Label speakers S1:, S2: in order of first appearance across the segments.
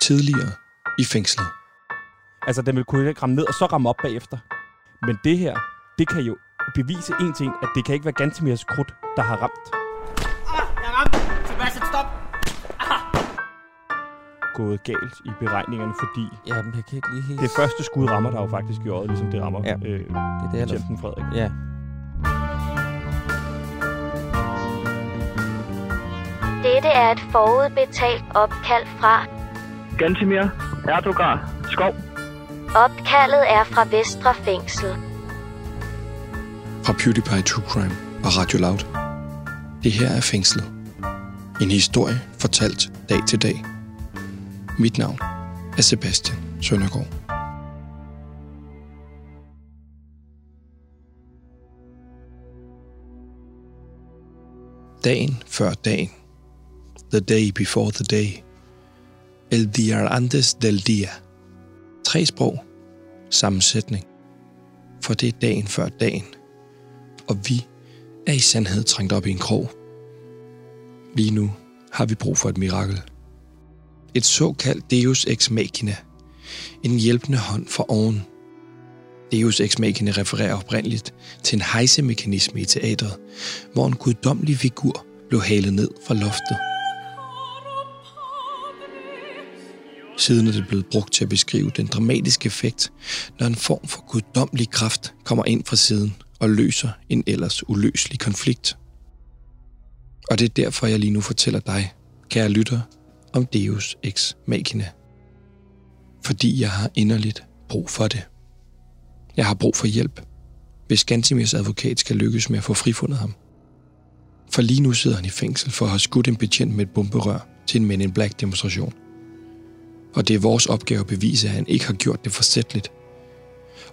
S1: tidligere i fængslet.
S2: Altså, den vil kunne ikke ramme ned og så ramme op bagefter. Men det her, det kan jo bevise en ting, at det kan ikke være Gantemirs krudt, der har ramt.
S3: Ah, jeg ramte. Sebastian, stop.
S2: Gået galt i beregningerne, fordi
S4: Ja, men jeg kan ikke lige helt...
S2: det første skud rammer der jo faktisk i øjet, ligesom det rammer
S4: Ja.
S2: ja. øh,
S4: det, er det jeg
S2: betjenten Frederik.
S4: Ja.
S5: Dette er et forudbetalt opkald fra.
S6: Gantimir, Erdogan, Skov.
S5: Opkaldet er fra Vestre Fængsel.
S1: Fra PewDiePie True Crime og Radio Loud. Det her er fængslet. En historie fortalt dag til dag. Mit navn er Sebastian Søndergaard. Dagen før dagen. The day before the day. El día antes del día. Tre sprog. Sammensætning. For det er dagen før dagen og vi er i sandhed trængt op i en krog. Lige nu har vi brug for et mirakel. Et såkaldt Deus Ex Machina. En hjælpende hånd fra oven. Deus Ex Machina refererer oprindeligt til en hejsemekanisme i teatret, hvor en guddommelig figur blev halet ned fra loftet. Siden er det blevet brugt til at beskrive den dramatiske effekt, når en form for guddommelig kraft kommer ind fra siden og løser en ellers uløselig konflikt. Og det er derfor, jeg lige nu fortæller dig, kære lytter, om Deus Ex Machina. Fordi jeg har inderligt brug for det. Jeg har brug for hjælp, hvis Gantimirs advokat skal lykkes med at få frifundet ham. For lige nu sidder han i fængsel for at have skudt en betjent med et bomberør til en Men in Black demonstration og det er vores opgave at bevise, at han ikke har gjort det forsætligt.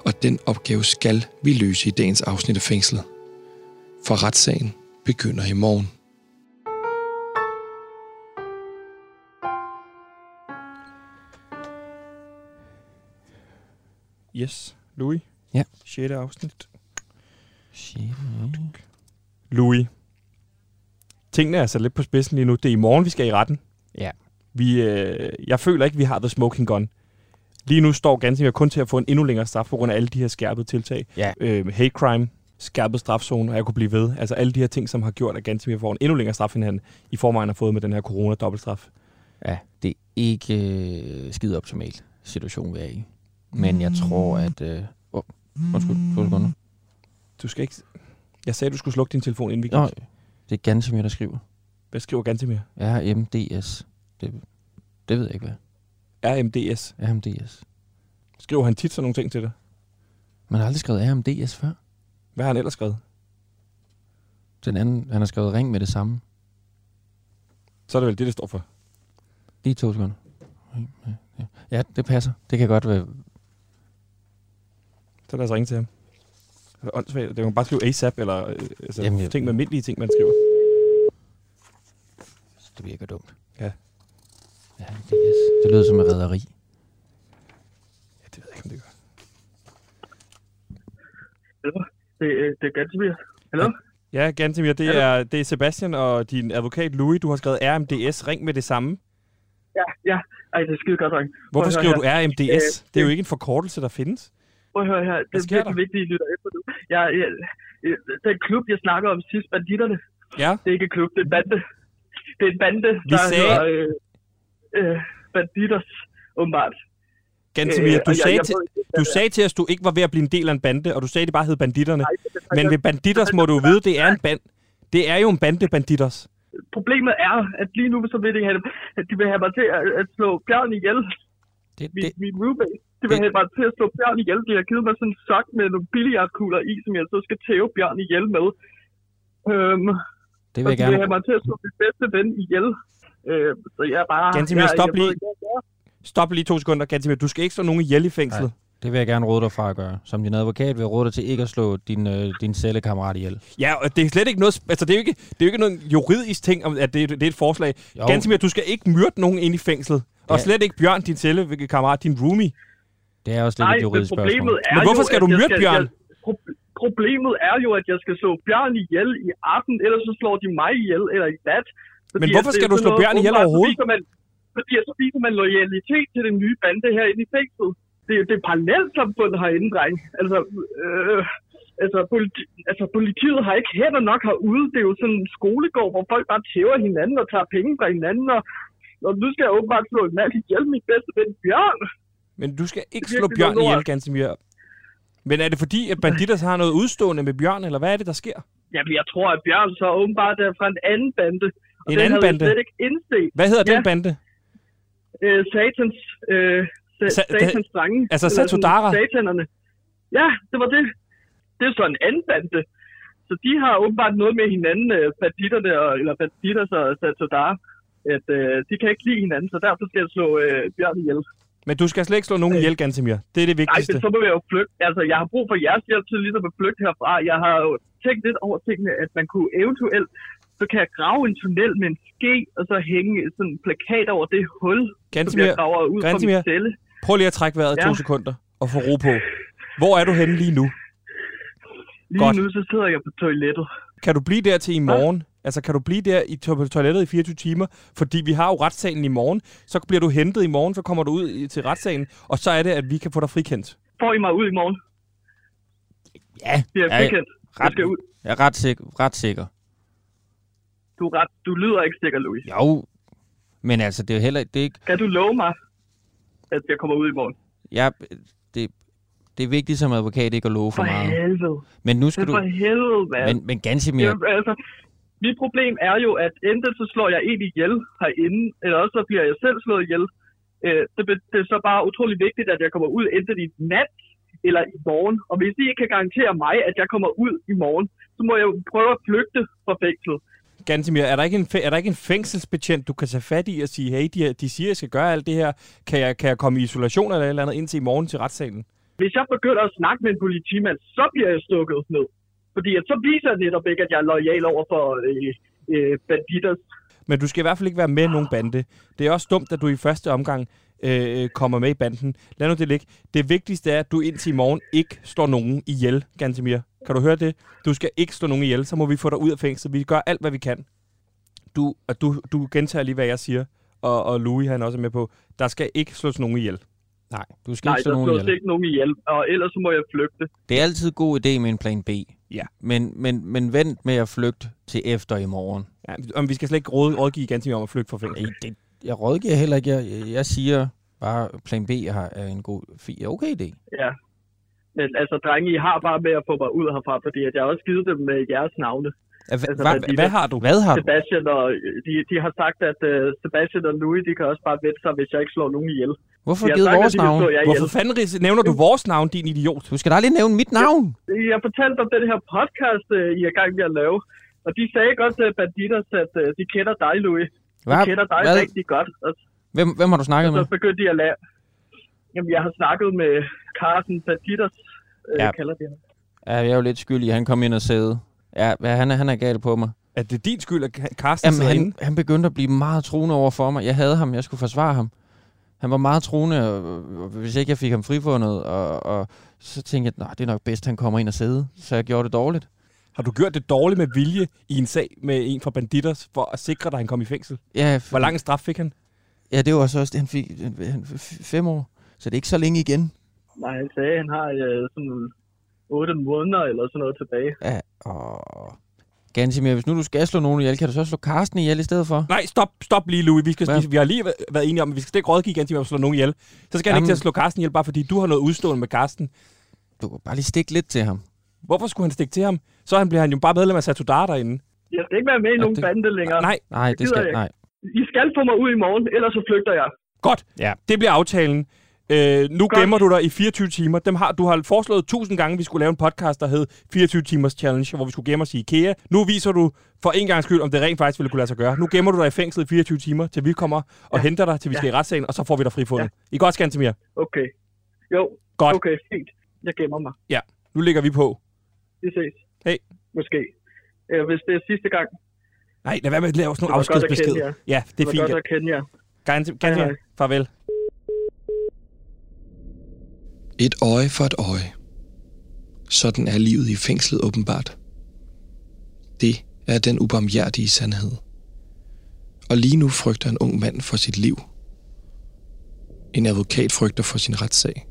S1: Og den opgave skal vi løse i dagens afsnit af fængslet. For retssagen begynder i morgen.
S2: Yes, Louis.
S4: Ja.
S2: 6. afsnit.
S4: Shit,
S2: Louis. Tingene er så lidt på spidsen lige nu. Det er i morgen, vi skal i retten.
S4: Ja.
S2: Vi, øh, jeg føler ikke, vi har the smoking gun. Lige nu står Gansimir kun til at få en endnu længere straf på grund af alle de her skærpede tiltag.
S4: Ja.
S2: Øh, hate crime, skærpet strafzone, og jeg kunne blive ved. Altså alle de her ting, som har gjort, at Gansimir får en endnu længere straf, end han i forvejen har fået med den her corona-dobbeltstraf.
S4: Ja, det er ikke øh, skide optimal situation, vi er i. Men jeg tror, at... Øh, oh, undskyld, to sekunder.
S2: Du skal ikke... Jeg sagde, du skulle slukke din telefon, inden vi gik.
S4: Nå, det er ganske mere, der skriver.
S2: Hvad skriver Gansimir?
S4: RMDS. Det, det ved jeg ikke, hvad.
S2: RMDS.
S4: RMDS.
S2: Skriver han tit sådan nogle ting til dig?
S4: Man har aldrig skrevet RMDS før.
S2: Hvad har han ellers skrevet?
S4: Den anden, han har skrevet ring med det samme.
S2: Så er det vel det, det står for.
S4: Lige to sekunder. Ring med- ja. Ja, det passer. Det kan godt være.
S2: Så lad os ringe til ham. Det er åndssvagt. Det kan man bare skrive ASAP, eller øh, altså,
S4: Jamen,
S2: Jamen,
S4: jeg-
S2: ting med almindelige ting, man skriver.
S4: Det virker dumt.
S2: Ja.
S4: RMDS. Det lyder som en rederi.
S2: Ja, det ved jeg ikke, om det gør.
S6: Det, er- det er Gantimir. Hallo?
S2: Ja, Gantemir, det er, det er Sebastian og din advokat Louis. Du har skrevet RMDS. Ring med det samme.
S6: Ja, ja. Ej, det er skide godt, dreng.
S2: Hvorfor
S6: Prøv at
S2: skriver
S6: høre
S2: du RMDS?
S6: Øh,
S2: Det er jo ikke en forkortelse, der findes.
S6: Prøv at høre her. Det
S2: sker
S6: er virkelig
S2: der?
S6: vigtigt, I lytter efter nu. Jeg, jeg, jeg, den klub, jeg snakker om sidst, banditterne,
S2: Ja,
S6: det er ikke en klub, det er en bande. Det er en bande,
S2: Vi sagde-
S6: øh, øh, banditters, åbenbart. Øh,
S2: Gantemir,
S6: og
S2: du, sagde
S6: jeg
S2: til,
S6: ved ikke, hvad
S2: du
S6: det er.
S2: sagde til os, du ikke var ved at blive en del af en bande, og du sagde, det bare hed Banditterne.
S6: Nej, det er-
S2: Men ved Banditters må du jo vide, det er en band. Det er jo en bande, Banditters.
S6: Problemet er, at lige nu, så vil de have, at de vil have mig til at, at slå bjørn ihjel.
S4: Det,
S6: Min,
S4: det,
S6: min roommate. De vil
S4: det-
S6: have mig til at slå bjørn ihjel. De har givet mig sådan en sok med nogle billiardkugler i, som jeg så skal tæve bjørn ihjel med. Øhm,
S4: det
S6: og
S4: vil jeg
S6: de vil have
S4: gerne.
S6: mig til at slå min bedste ven ihjel. Øhm, så jeg er bare...
S2: Gantimir,
S6: jeg,
S2: stop
S6: jeg
S2: lige.
S6: ved ikke, hvad jeg gør.
S2: Stop lige to sekunder, Gantemir. Du skal ikke slå nogen ihjel i fængslet.
S4: Det vil jeg gerne råde dig fra at gøre. Som din advokat vil jeg råde dig til ikke at slå din, øh, din cellekammerat ihjel.
S2: Ja, og det er slet ikke noget... sp- Altså, det er jo ikke, det er jo ikke nogen juridisk ting, om, at det, det er et forslag.
S4: Jo.
S2: Gansimir, du skal ikke myrde nogen ind i fængslet. Og
S4: Ja.
S2: slet ikke Bjørn, din cellekammerat, din roomie.
S4: Det er også lidt
S6: Nej,
S4: et
S6: men
S4: juridisk
S6: problemet
S4: spørgsmål.
S6: er
S2: Men hvorfor
S6: jo,
S2: skal
S6: at
S2: du
S6: jeg
S2: myrde Bjørn?
S6: Jeg, pro- problemet er jo, at jeg skal slå Bjørn ihjel i aften, ellers så slår de mig ihjel eller i nat. Fordi
S2: Men hvorfor
S6: at det
S2: skal
S6: er
S2: du
S6: sådan
S2: slå
S6: noget,
S2: Bjørn ihjel
S6: åbenbart, så
S2: overhovedet?
S6: viser man- Fordi så viser man loyalitet til den nye bande herinde i fængslet. Det, det er parallelsamfund herinde, dreng. Altså, øh, altså, politi, altså, politiet har ikke hænder nok herude. Det er jo sådan en skolegård, hvor folk bare tæver hinanden og tager penge fra hinanden. Og, og nu skal jeg åbenbart slå en mand ihjel, min bedste ven Bjørn.
S2: Men du skal ikke
S6: Det er
S2: slå
S6: virkelig
S2: Bjørn
S6: noget
S2: ihjel,
S6: lort.
S2: Gansimir. Men er det fordi, at banditter så har noget udstående med Bjørn, eller hvad er det, der sker?
S6: Jamen, jeg tror, at Bjørn så åbenbart er fra en anden bande. Og
S2: En
S6: den
S2: anden
S6: havde jeg
S2: bande?
S6: slet ikke indset.
S2: Hvad hedder ja.
S6: Ja.
S2: den bande?
S6: Øh, satans, øh, sa-
S2: Sa-
S6: satans drenge.
S2: altså
S6: Eller sådan
S2: Satudara?
S6: Satanerne. Ja, det var det. Det er så en anden bande. Så de har åbenbart noget med hinanden, øh, banditterne, og, eller banditter og Satudara. At øh, de kan ikke lide hinanden, så derfor skal jeg slå øh, Bjørn ihjel.
S2: Men du skal slet ikke slå nogen ihjel, Gansimir. Det er det
S6: Øh. Nej,
S2: vigtigste.
S6: men så må jeg jo flygte. Altså, jeg har brug for jeres hjælp til ligesom at flygte herfra. Jeg har jo tænkt lidt over tingene, at man kunne eventuelt, så kan jeg grave en tunnel med en ske, og så hænge sådan en plakat over det hul, som jeg
S2: Gansimir,
S6: graver ud fra
S2: Gansimir.
S6: min celle.
S2: prøv lige at trække vejret ja. to
S6: Ja.
S2: sekunder og få ro på. Hvor er du henne lige nu?
S6: Lige
S2: Godt.
S6: nu, så sidder jeg på toilettet.
S2: Kan du blive der til i morgen? Altså, kan du blive der i to- på toilettet i 24 timer? Fordi vi har jo retssagen i morgen. Så bliver du hentet i morgen, så kommer du ud i- til retssagen, og så er det, at vi kan få dig frikendt.
S6: Får I mig ud i morgen?
S4: Ja,
S6: Bliver jeg
S4: jeg,
S6: frikendt? Jeg
S4: ret,
S6: skal ud.
S4: jeg er ret sikker. Ret sikker.
S6: Du, er ret, du lyder ikke sikker, Louis.
S4: Jo, men altså, det er jo heller det er ikke...
S6: Kan du love mig, at jeg kommer ud i morgen?
S4: Jeg, det, det er vigtigt som advokat ikke at love for
S6: For
S4: meget.
S6: helvede.
S4: Men nu
S6: Men
S4: skal du...
S6: for helvede, mand.
S4: Men, men Gansimir,
S6: Ja. Altså, mit problem er jo, at enten så slår jeg en ihjel herinde, eller også så bliver jeg selv slået ihjel. Øh, det, be- det er så bare utrolig vigtigt, at jeg kommer ud enten i nat eller i morgen. Og hvis I ikke kan garantere mig, at jeg kommer ud i morgen, så må jeg jo prøve at flygte fra fængslet.
S2: Gansimir, er der ikke en, fæ- er der ikke en fængselsbetjent, du kan tage fat i og sige, hey, de, her- de siger, jeg skal gøre alt det her. Kan jeg, kan jeg komme i isolation eller et eller andet indtil i morgen til retssagen?
S6: Hvis jeg begynder at snakke med en politimand, så bliver jeg stukket ned. Fordi at så viser jeg netop ikke, at jeg er lojal over for øh, øh, banditters
S2: Men du skal i hvert fald ikke være med i nogen bande. Det er også dumt, at du i første omgang øh, kommer med i banden. Lad nu det ligge. Det vigtigste er, at du indtil i morgen ikke slår nogen ihjel, Gantemir. Kan du høre det? Du skal ikke slå nogen ihjel, så må vi få dig ud af fængslet. Vi gør alt, hvad vi kan. Du, og du, du gentager lige, hvad jeg siger, og, og Louis han også er med på. Der skal ikke slås nogen ihjel.
S4: nej, du skal ikke
S6: Nej, der
S4: slå nogen
S6: slås
S4: ihjel.
S6: ikke nogen ihjel, og ellers så må jeg flygte.
S4: Det er altid en god idé med en plan B.
S2: Ja.
S4: Men, men, men vent med at flygte til efter i morgen.
S2: Ja, om vi skal slet ikke råd, rådgive Gantemir om at flygte fra fængslet.
S4: Ej, det, jeg rådgiver heller ikke. Jeg, jeg siger bare, plan B har, er en god, fi- okay idé.
S6: Ja. Men altså, drenge, I har bare med at få mig ud herfra, fordi at jeg har også givet dem med jeres navne.
S4: Hva, hva,
S6: Altså,
S4: hva,
S6: fordi
S2: Hvad
S6: der-
S2: har du?
S4: hvad har du?
S6: Sebastian og, øh, de, de har sagt, at uh, Sebastian og Louis, de kan også bare vende sig, hvis jeg ikke slår nogen ihjel.
S4: Hvorfor
S6: De har
S4: givet
S6: sagt, at
S4: vores
S6: de vil
S4: navn?
S6: slå jer ihjel.
S2: Hvorfor fanden ris- nævner du vores navn, din idiot?
S4: Du skal da aldrig nævne mit navn.
S6: Jeg fortalte om den her podcast, uh, I er i gang med at lave. Og de sagde godt til Banditas, at uh, de kender dig, Louis. De
S4: Hva,
S6: kender dig
S4: hvad,
S6: rigtig Altså- godt. Og
S4: hvem, hvem har du snakket
S6: så
S4: med?
S6: begyndte de at lave... Jamen, jeg har snakket med Carsten Banditas, uh,
S4: Ja.
S6: ja. kalder de ham.
S4: Ja, jeg er jo lidt skyldig. Han kom ind og sagde, ja, hvad, han, er, han er gal på mig.
S2: Er det din skyld, at Ka- Carsten
S4: Jamen,
S2: sidder inde?
S4: han, han begyndte at blive meget troende over for mig. Jeg havde ham, jeg skulle forsvare ham. Han var meget troende, og, og hvis ikke jeg fik ham frifundet, og, og så tænkte jeg, nej, det er nok bedst, han kommer ind og sidde. Så jeg gjorde det dårligt.
S2: Har du gjort det dårligt med vilje i en sag med en fra banditters, for at sikre dig, at han kom i fængsel?
S4: Ja,
S2: Hvor lang en straf fik han?
S4: Ja, det var så også det, han fik han, f- f- fem år. Så det er ikke så længe igen.
S6: Nej, han sagde, at han har øh, sådan 8 måneder eller sådan noget tilbage.
S4: Ja, og... Gansimir, hvis nu du skal slå nogen ihjel, kan du så slå Karsten ihjel i stedet for?
S2: Nej, stop, stop lige, Louis. Vi, skal,
S4: Hvad?
S2: vi, vi har lige væ- været enige om, at vi skal slet ikke rådgive igen til at slå nogen ihjel. Så skal han ikke
S4: Jamen.
S2: til at slå Carsten ihjel, bare fordi du har noget udstående med Carsten.
S4: Du kan bare lige stikke lidt til ham.
S2: Hvorfor skulle han stikke til ham? Så han bliver han jo bare medlem af Satudar derinde.
S6: Jeg skal ikke være med i
S4: Ja,
S6: nogen
S4: det-
S6: bande længere.
S2: Nej,
S4: Nej, det
S6: gider jeg
S4: skal...
S6: ikke.
S4: Nej.
S6: I skal få mig ud i morgen, ellers så flygter jeg.
S2: godt.
S4: Ja.
S2: Det bliver aftalen. Øh, nu
S6: Godt.
S2: gemmer du dig i 24 timer. Dem har, du har foreslået tusind gange, at vi skulle lave en podcast, der hed 24 timers challenge, hvor vi skulle gemme os i IKEA. Nu viser du for en gang skyld, om det rent faktisk ville kunne lade sig gøre. Nu gemmer du dig i fængslet i 24 timer, til vi kommer og ja. henter dig, til vi skal i retssagen, og så får vi dig frifundet. Ja. I er godt, Skantimir.
S6: Okay. Jo,
S2: Godt.
S6: okay, fint. Jeg gemmer mig.
S2: Ja, nu ligger vi på.
S6: Vi ses.
S2: Hey.
S6: Måske. Øh, hvis det er sidste gang.
S2: Nej, lad være med at lave sådan nogle
S6: Det var godt at
S2: afskedsbesked.
S6: kende jer.
S2: Ja, det er
S6: var
S2: fint.
S6: godt at kende jer.
S2: Gantim-
S6: Hej,
S2: Gantimir,
S6: hej.
S2: farvel.
S1: Et øje for et øje. Sådan er livet i fængslet åbenbart. Det er den ubarmhjertige sandhed. Og lige nu frygter en ung mand for sit liv En advokat frygter for sin retssag.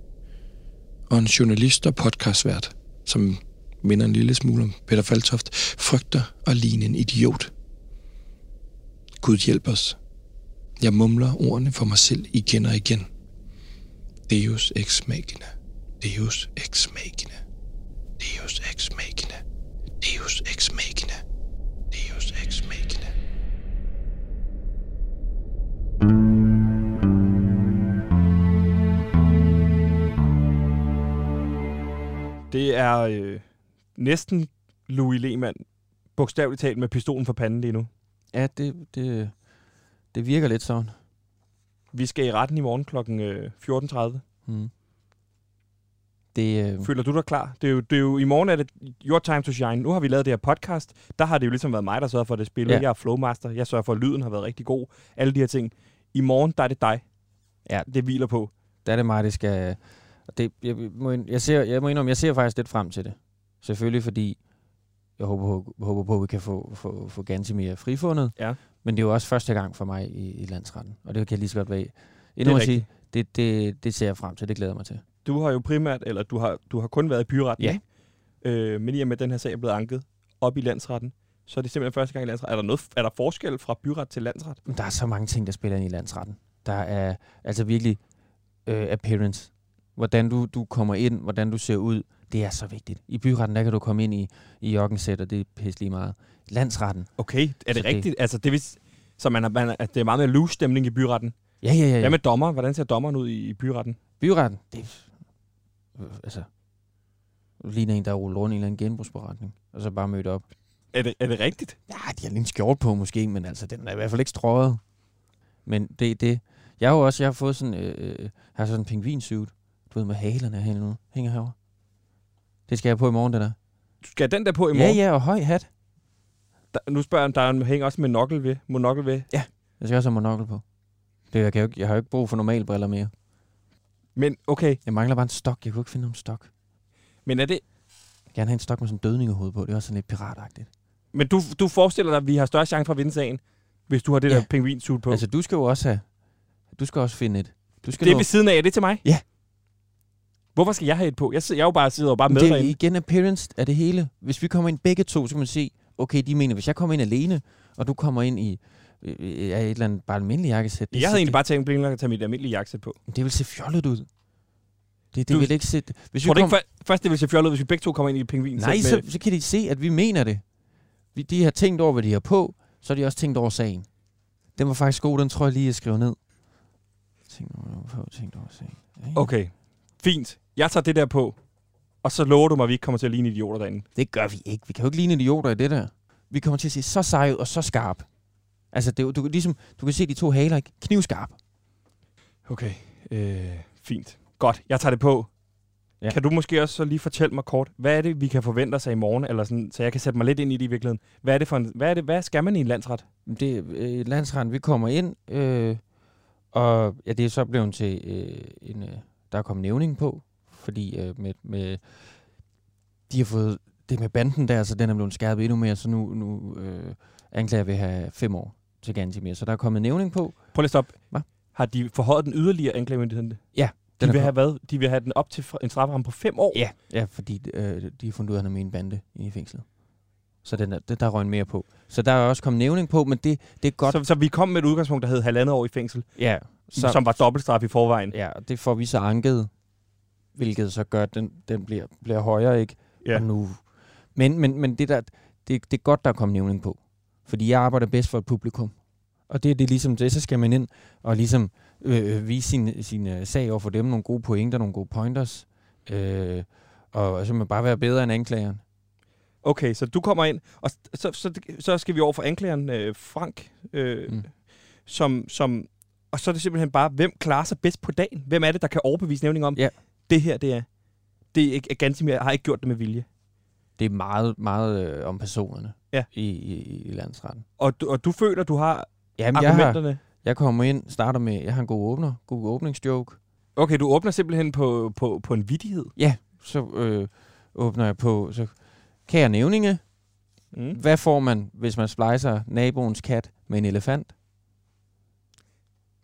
S1: Og en journalist og podcastvært, som minder en lille smule om Peter Faltoft, frygter at ligne en idiot. Gud hjælp os. Jeg mumler ordene for mig selv igen og igen. Deus ex machina. Deus ex machina. Deus ex machina. Deus ex machina. Deus ex machina.
S2: Det er øh, næsten Louis Lehmann, bogstaveligt talt med pistolen for panden lige nu.
S4: Ja, det, det, det virker lidt sådan.
S2: Vi skal i retten i morgen kl. øh, 14.30.
S4: Mm. Det, øh,
S2: Føler du dig klar? Det er, jo, det er jo, I morgen er det your time to shine. Nu har vi lavet det her podcast. Der har det jo ligesom været mig, der sørger for, at det spiller.
S4: Ja.
S2: Ja. Jeg er flowmaster. Jeg sørger for, at lyden har været rigtig god. Alle de her ting. I morgen, der er det dig.
S4: Ja.
S2: Det hviler på.
S4: der er det mig, det skal... og Det, jeg, må, ind- jeg, ser, jeg må indrømme, jeg ser faktisk lidt frem til det. Selvfølgelig, fordi jeg håber, på- håber på, at vi kan få, få, få Gantemir frifundet.
S2: Ja.
S4: Men det er jo også første gang for mig i, i landsretten. Og det kan jeg lige så godt være endnu at
S2: rigtigt.
S4: sige. Det, det, det ser jeg frem til, det glæder jeg mig til.
S2: Du har jo primært, eller du har, du har kun været i byretten.
S4: Ja.
S2: ikke? Øh, men i og med, at den her sag er blevet anket op i landsretten, så er det simpelthen første gang i landsretten. Er der, noget, er der forskel fra byret til landsret?
S4: Men Der er så mange ting, der spiller ind i landsretten. Der er altså virkelig øh, appearance. Hvordan du, du kommer ind, hvordan du ser ud, det er så vigtigt. I byretten, der kan du komme ind i, i jokkensæt, og det er pisse lige meget. Landsretten.
S2: Okay, er det
S4: Så det-
S2: så rigtigt? Det. Altså, det vil, s- så man har, man, har- at det er meget mere loose stemning i byretten.
S4: Ja, ja, ja.
S2: Hvad
S4: ja.
S2: med dommer? Hvordan ser dommeren ud i, i byretten?
S4: Byretten, det øh, altså, ligner en, der ruller rundt i en eller anden genbrugsberetning, og så bare mødt op.
S2: Er det, er det rigtigt?
S4: Ja, de har lige en skjort på måske, men altså, den er i hvert fald ikke strøget. Men det er det. Jeg har jo også, jeg har fået sådan, øh, øh, har sådan en pingvinsuit, du ved, med halerne her nu, hænger herovre. Det skal jeg på i morgen, det der.
S2: Du skal have den der på i morgen.
S4: Ja, ja, og høj hat.
S2: Der, nu spørger jeg, om der er en- hænger også med nokkel ved. Monokkel ved.
S4: Jeg skal også have monokkel på. Det, jeg, kan jo, ikke- jeg har jo ikke brug for normale briller mere.
S2: Men okay,
S4: Jeg mangler bare en stok. Jeg kunne ikke finde nogen stok. Jeg
S2: men er det...
S4: vil gerne have en stok med sådan en dødningehoved på. Det er også sådan lidt piratagtigt.
S2: Men du, du forestiller dig, at vi har større chance for at vinde sagen, hvis du har det
S4: Ja.
S2: der pingvinsuit på.
S4: Altså, du skal jo også have... Du skal også finde et. Du skal
S2: det er
S4: nå-
S2: ved siden af. Er det til mig?
S4: Ja.
S2: Hvorfor skal jeg have et på? Jeg, sidder, jeg er jo bare sidder jo bare med
S4: Men det er
S2: derinde.
S4: jo igen appearance af det hele. Hvis vi kommer ind begge to, så kan man se, okay, de mener, hvis jeg kommer ind alene, og du kommer ind i øh, øh, ja, et eller andet bare almindeligt jakkesæt. det
S2: Jeg
S4: ser-
S2: havde egentlig bare tænkt, at jeg tage mit almindelige jakkesæt på.
S4: Det, det vil se fjollet ud. Det, det
S2: Du-
S4: vil ikke se... Hvis
S2: Tror du
S4: vi
S2: ikke
S4: kommer,
S2: fa- først, det ville se fjollet ud, hvis vi begge to kommer ind i et pingvin?
S4: nej, så, så kan de se, at vi mener det. Vi, de har tænkt over, hvad de har på, så har de også tænkt over sagen. Den var faktisk god, den tror jeg lige, jeg skriver ned. Tænkt over, hvad jeg har på, tænkt over sagen. Ikke?
S2: Okay, fint. Jeg tager det der på, og så lover du mig, at vi ikke kommer til at ligne idioter derinde.
S4: Det gør vi ikke. Vi kan jo ikke ligne idioter i det der. Vi kommer til at se så sej ud og så skarp. Altså, det, er jo- du, kan ligesom, du kan se de to haler, ikke? Knivskarp.
S2: Okay, øh, fint. Godt, jeg tager det på.
S4: Ja.
S2: Ja. Kan du måske også så lige fortælle mig kort, hvad er det, vi kan forvente os af i morgen, eller sådan, så jeg kan sætte mig lidt ind i det i virkeligheden. Hvad er det for en, hvad, er det, hvad skal man i en landsret?
S4: Det, øh, landsretten, vi kommer ind, øh, og ja, det er så blevet til øh, en... Øh, der er kommet nævning på, fordi øh, med, med, de har fået det med banden der, så den er blevet skærpet endnu mere, så nu, nu øh, anklager vi at have fem år til Gantimir. Så der er kommet nævning på.
S2: Prøv lige at stoppe.
S4: Hva?
S2: Har de forhøjet den yderligere anklagemyndigheden? De
S4: Den er
S2: vil
S4: kom-
S2: have hvad? De vil have den op til fra- en strafferamme på fem år?
S4: Ja, ja fordi øh, de har fundet ud af, at han er med i en bande inde i fængslet. Så den er, det, der røg en mere på. Så der er også kommet nævning på, men det, det er godt.
S2: Så, så vi kom med et udgangspunkt, der hed halvandet år i fængsel,
S4: ja,
S2: så, som var dobbeltstraf i forvejen.
S4: ja, og det får vi så anket, hvilket så gør, at den, den bliver, bliver højere, ikke?
S2: Ja.
S4: Og nu. Men, men, men det, der, det, det er godt, der er kommet nævning på. Fordi jeg arbejder bedst for et publikum. Og det, er det er ligesom det, så skal man ind og ligesom øh, øh, vise sin, sin øh, sag over for dem, nogle gode pointer, nogle gode pointers. Øh, og så må man bare være bedre end anklageren.
S2: Okay, så du kommer ind, og s- så, så, så skal vi over for anklageren øh, Frank, øh,
S4: Mm.
S2: mm. som, som, og så er det simpelthen bare, hvem klarer sig bedst på dagen? Hvem er det, der kan overbevise nævningen om,
S4: Ja.
S2: det her, det er, det er ikke, er Gansimir har ikke gjort det med vilje.
S4: det er meget, meget øh, om personerne
S2: Ja.
S4: i, i, i landsretten.
S2: Og du, og du føler, du har
S4: Jamen, jeg, har,
S2: argumenterne?
S4: jeg kommer ind, starter med, jeg har en god åbner, god åbningsjoke.
S2: Okay, du åbner simpelthen på, på, på en vidighed.
S4: Så øh, åbner jeg på, så kære nævninge,
S2: Mm.
S4: hvad får man, hvis man splicer naboens kat med en elefant?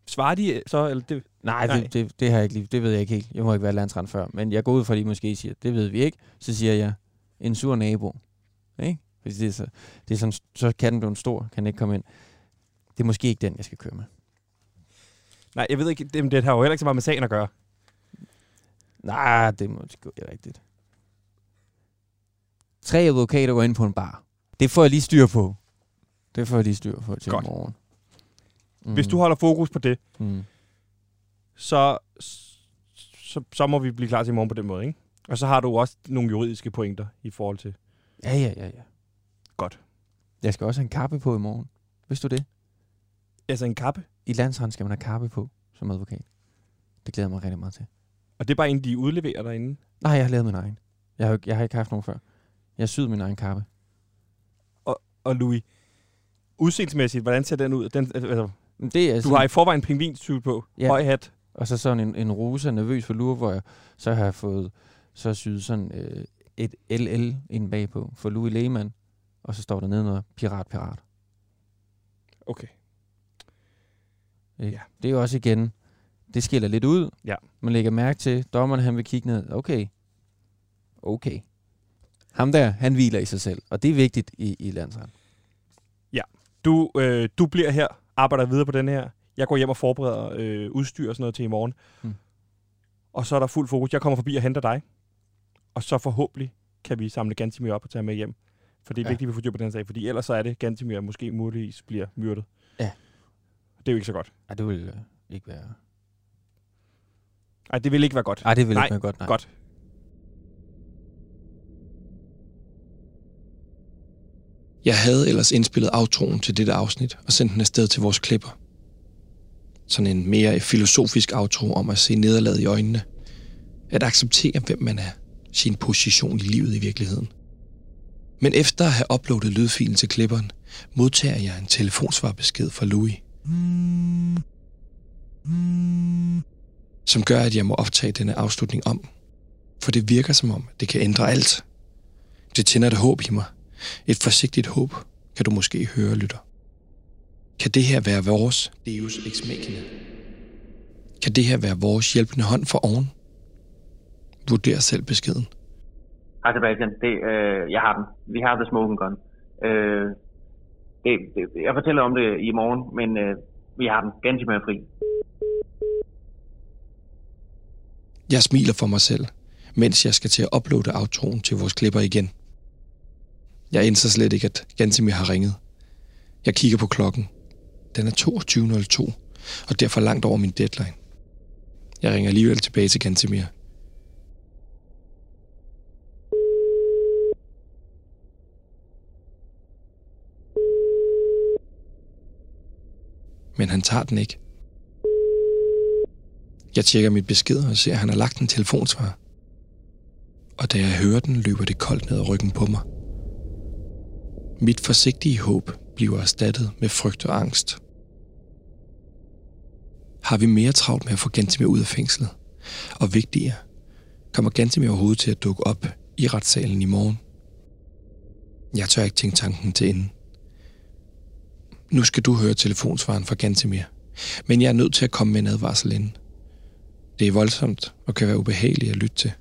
S2: Svarer de øh, så? Eller det,
S4: Nej,
S2: Nej.
S4: det, det, det, har jeg ikke lige. Det ved jeg ikke helt. Jeg må ikke være landsrand før. Men jeg går ud fra, at I måske siger, det ved vi ikke. Så siger jeg, en sur nabo. Ikke? Fordi det er så, det er sådan, så kan den blive en stor, kan den ikke komme ind. Det er måske ikke den, jeg skal køre med.
S2: Nej, jeg ved ikke, det, men det har jo heller ikke så meget med sagen at gøre.
S4: Nej, det er måske ikke rigtigt. Tre advokater går ind på en bar. Det får jeg lige styr på. Det får jeg lige styr på til
S2: Godt.
S4: Godt. morgen. Mm.
S2: Hvis du holder fokus på det,
S4: Mm.
S2: så, så, så må vi blive klar til i morgen på den måde, ikke? Og så har du også nogle juridiske pointer i forhold til...
S4: Ja, ja, ja, ja.
S2: Godt.
S4: Jeg skal også have en kappe på i morgen. Vidste du det?
S2: Altså en kappe.
S4: I landsretten skal man have kappe på som advokat. Det glæder jeg mig rigtig meget til.
S2: Og det er bare en, de udleverer derinde.
S4: Nej, jeg har lavet min egen. Jeg har, jo ikke- jeg har ikke haft nogen før. Jeg har syet min egen kappe.
S2: Og Louis, udseendemæssigt, hvordan ser den ud? Den, altså,
S4: Men Det er
S2: du
S4: sådan-
S2: har i forvejen pingvinstyl på. Ja.
S4: Ja.
S2: Høj hat.
S4: Og så sådan en, en rose nervøs for lure, hvor jeg så har jeg fået så syet sådan øh, et LL ind bagpå for Louis Lehmann. Og så står der nedenunder, pirat, pirat.
S2: Okay.
S4: Ikke?
S2: Ja.
S4: Det er jo også igen, det skiller lidt ud.
S2: Ja.
S4: Man lægger mærke til, dommeren han vil kigge ned. Okay. Okay. Ham der, han hviler i sig selv. Og det er vigtigt i, i landsretten.
S2: Du, øh, du bliver her, arbejder videre på den her. Jeg går hjem og forbereder øh, udstyr og sådan noget til i morgen.
S4: Mm.
S2: Og så er der fuld fokus. Jeg kommer forbi og henter dig. Og så forhåbentlig kan vi samle Gantimir op og tage ham med hjem. For det er ja.
S4: Ja.
S2: vigtigt, at vi får styr på den her sag. Fordi ellers så er det, Gantimir måske muligvis bliver myrdet.
S4: Ja.
S2: Det er jo ikke så godt.
S4: Ej, det vil øh, ikke være...
S2: Nej, det vil ikke være godt.
S4: Ej, det vil
S2: Nej,
S4: ikke være godt, nej.
S2: godt.
S1: Jeg havde ellers indspillet aftroen til dette afsnit og sendt den afsted til vores klipper. Sådan en mere filosofisk aftro om at se nederlaget i øjnene. At acceptere, hvem man er. Sin position i livet i virkeligheden. Men efter at have uploadet lydfilen til klipperen, modtager jeg en telefonsvarbesked fra Louis. Som gør, at jeg må optage denne afslutning om. For det virker som om, det kan ændre alt. Det tænder et håb i mig, et forsigtigt håb kan du måske høre, lytter. Kan det her være vores Deus ex machina? Kan det her være vores hjælpende hånd for oven? Vurder selv beskeden.
S7: Hej Sebastian, det, øh, jeg har den. Vi har The Smoking Gun. Øh, det, det, jeg fortæller om det i morgen, men øh, vi har den. Ganske er fri.
S1: Jeg smiler for mig selv, mens jeg skal til at uploade aftroen til vores klipper igen. Jeg indser slet ikke, at Gantemir har ringet. Jeg kigger på klokken. Den er 22.02, og derfor langt over min deadline. Jeg ringer alligevel tilbage til Gantemir. Men han tager den ikke. Jeg tjekker mit besked og ser, at han har lagt en telefonsvar. Og da jeg hører den, løber det koldt ned ad ryggen på mig. Mit forsigtige håb bliver erstattet med frygt og angst. Har vi mere travlt med at få Gantemir ud af fængslet? Og vigtigere, kommer Gantemir overhovedet til at dukke op i retssalen i morgen? Jeg tør ikke tænke tanken til ende. Nu skal du høre telefonsvaren fra Gantemir, men jeg er nødt til at komme med en advarsel inden. Det er voldsomt og kan være ubehageligt at lytte til.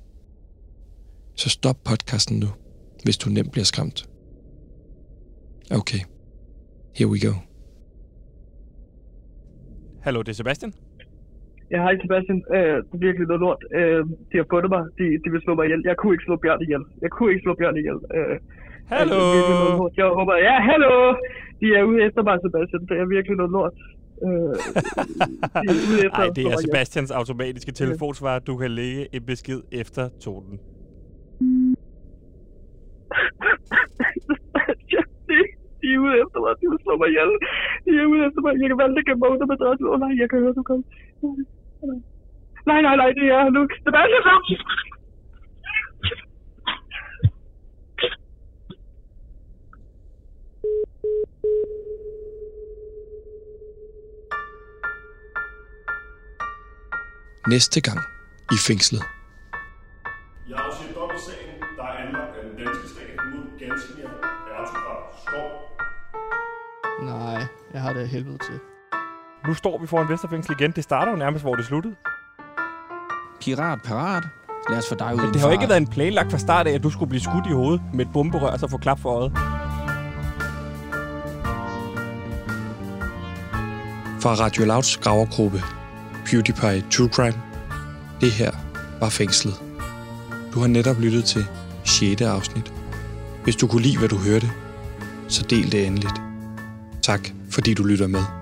S1: Så stop podcasten nu, hvis du nemt bliver skræmt. Okay. Here we go.
S2: Hallo, det er Sebastian.
S6: Jeg har ikke Sebastian. Øh, det er virkelig noget lort. Øh, de har fundet mig. De, de vil slå mig ihjel. Jeg kunne ikke slå Bjørn ihjel. Jeg kunne ikke slå Bjørn ihjel. Øh, altså,
S2: Hallo.
S6: det er virkelig noget lort. Jeg håber, ja, hallo! De er ude efter mig, Sebastian. Det er virkelig noget lort. Øh, de er ude efter
S2: Nej, det er altså
S6: at slå mig ihjel.
S2: Sebastians automatiske telefonsvar. Du kan lægge en besked efter tonen.
S6: de, de er ude efter mig. De vil slå mig ihjel. De er ude efter mig. Jeg kan valgte at gemme mig under madrassen. Åh oh, nej, jeg kan høre, du kom. Nej, nej, nej, det er nu. Sebastian, stop!
S1: Næste gang i fængslet.
S8: Jeg afsiger dobbeltsagen, der er anlagt af den danske stat mod Gansmir Ertugrat Skov.
S9: Nej, jeg har det af helvede til.
S2: Nu står vi foran Vesterfængsel igen. Det starter jo nærmest, hvor det sluttede.
S4: Pirat, parat. Lad os få dig ud
S2: Men det har jo ikke været en planlagt fra start af, at du skulle blive skudt i hovedet med et bomberør og så få klap for øjet.
S1: Fra Radio Louds gravergruppe, PewDiePie True Crime. Det her var fængslet. Du har netop lyttet til 6. afsnit. Hvis du kunne lide, hvad du hørte, så del det endeligt. Tak, fordi du lytter med.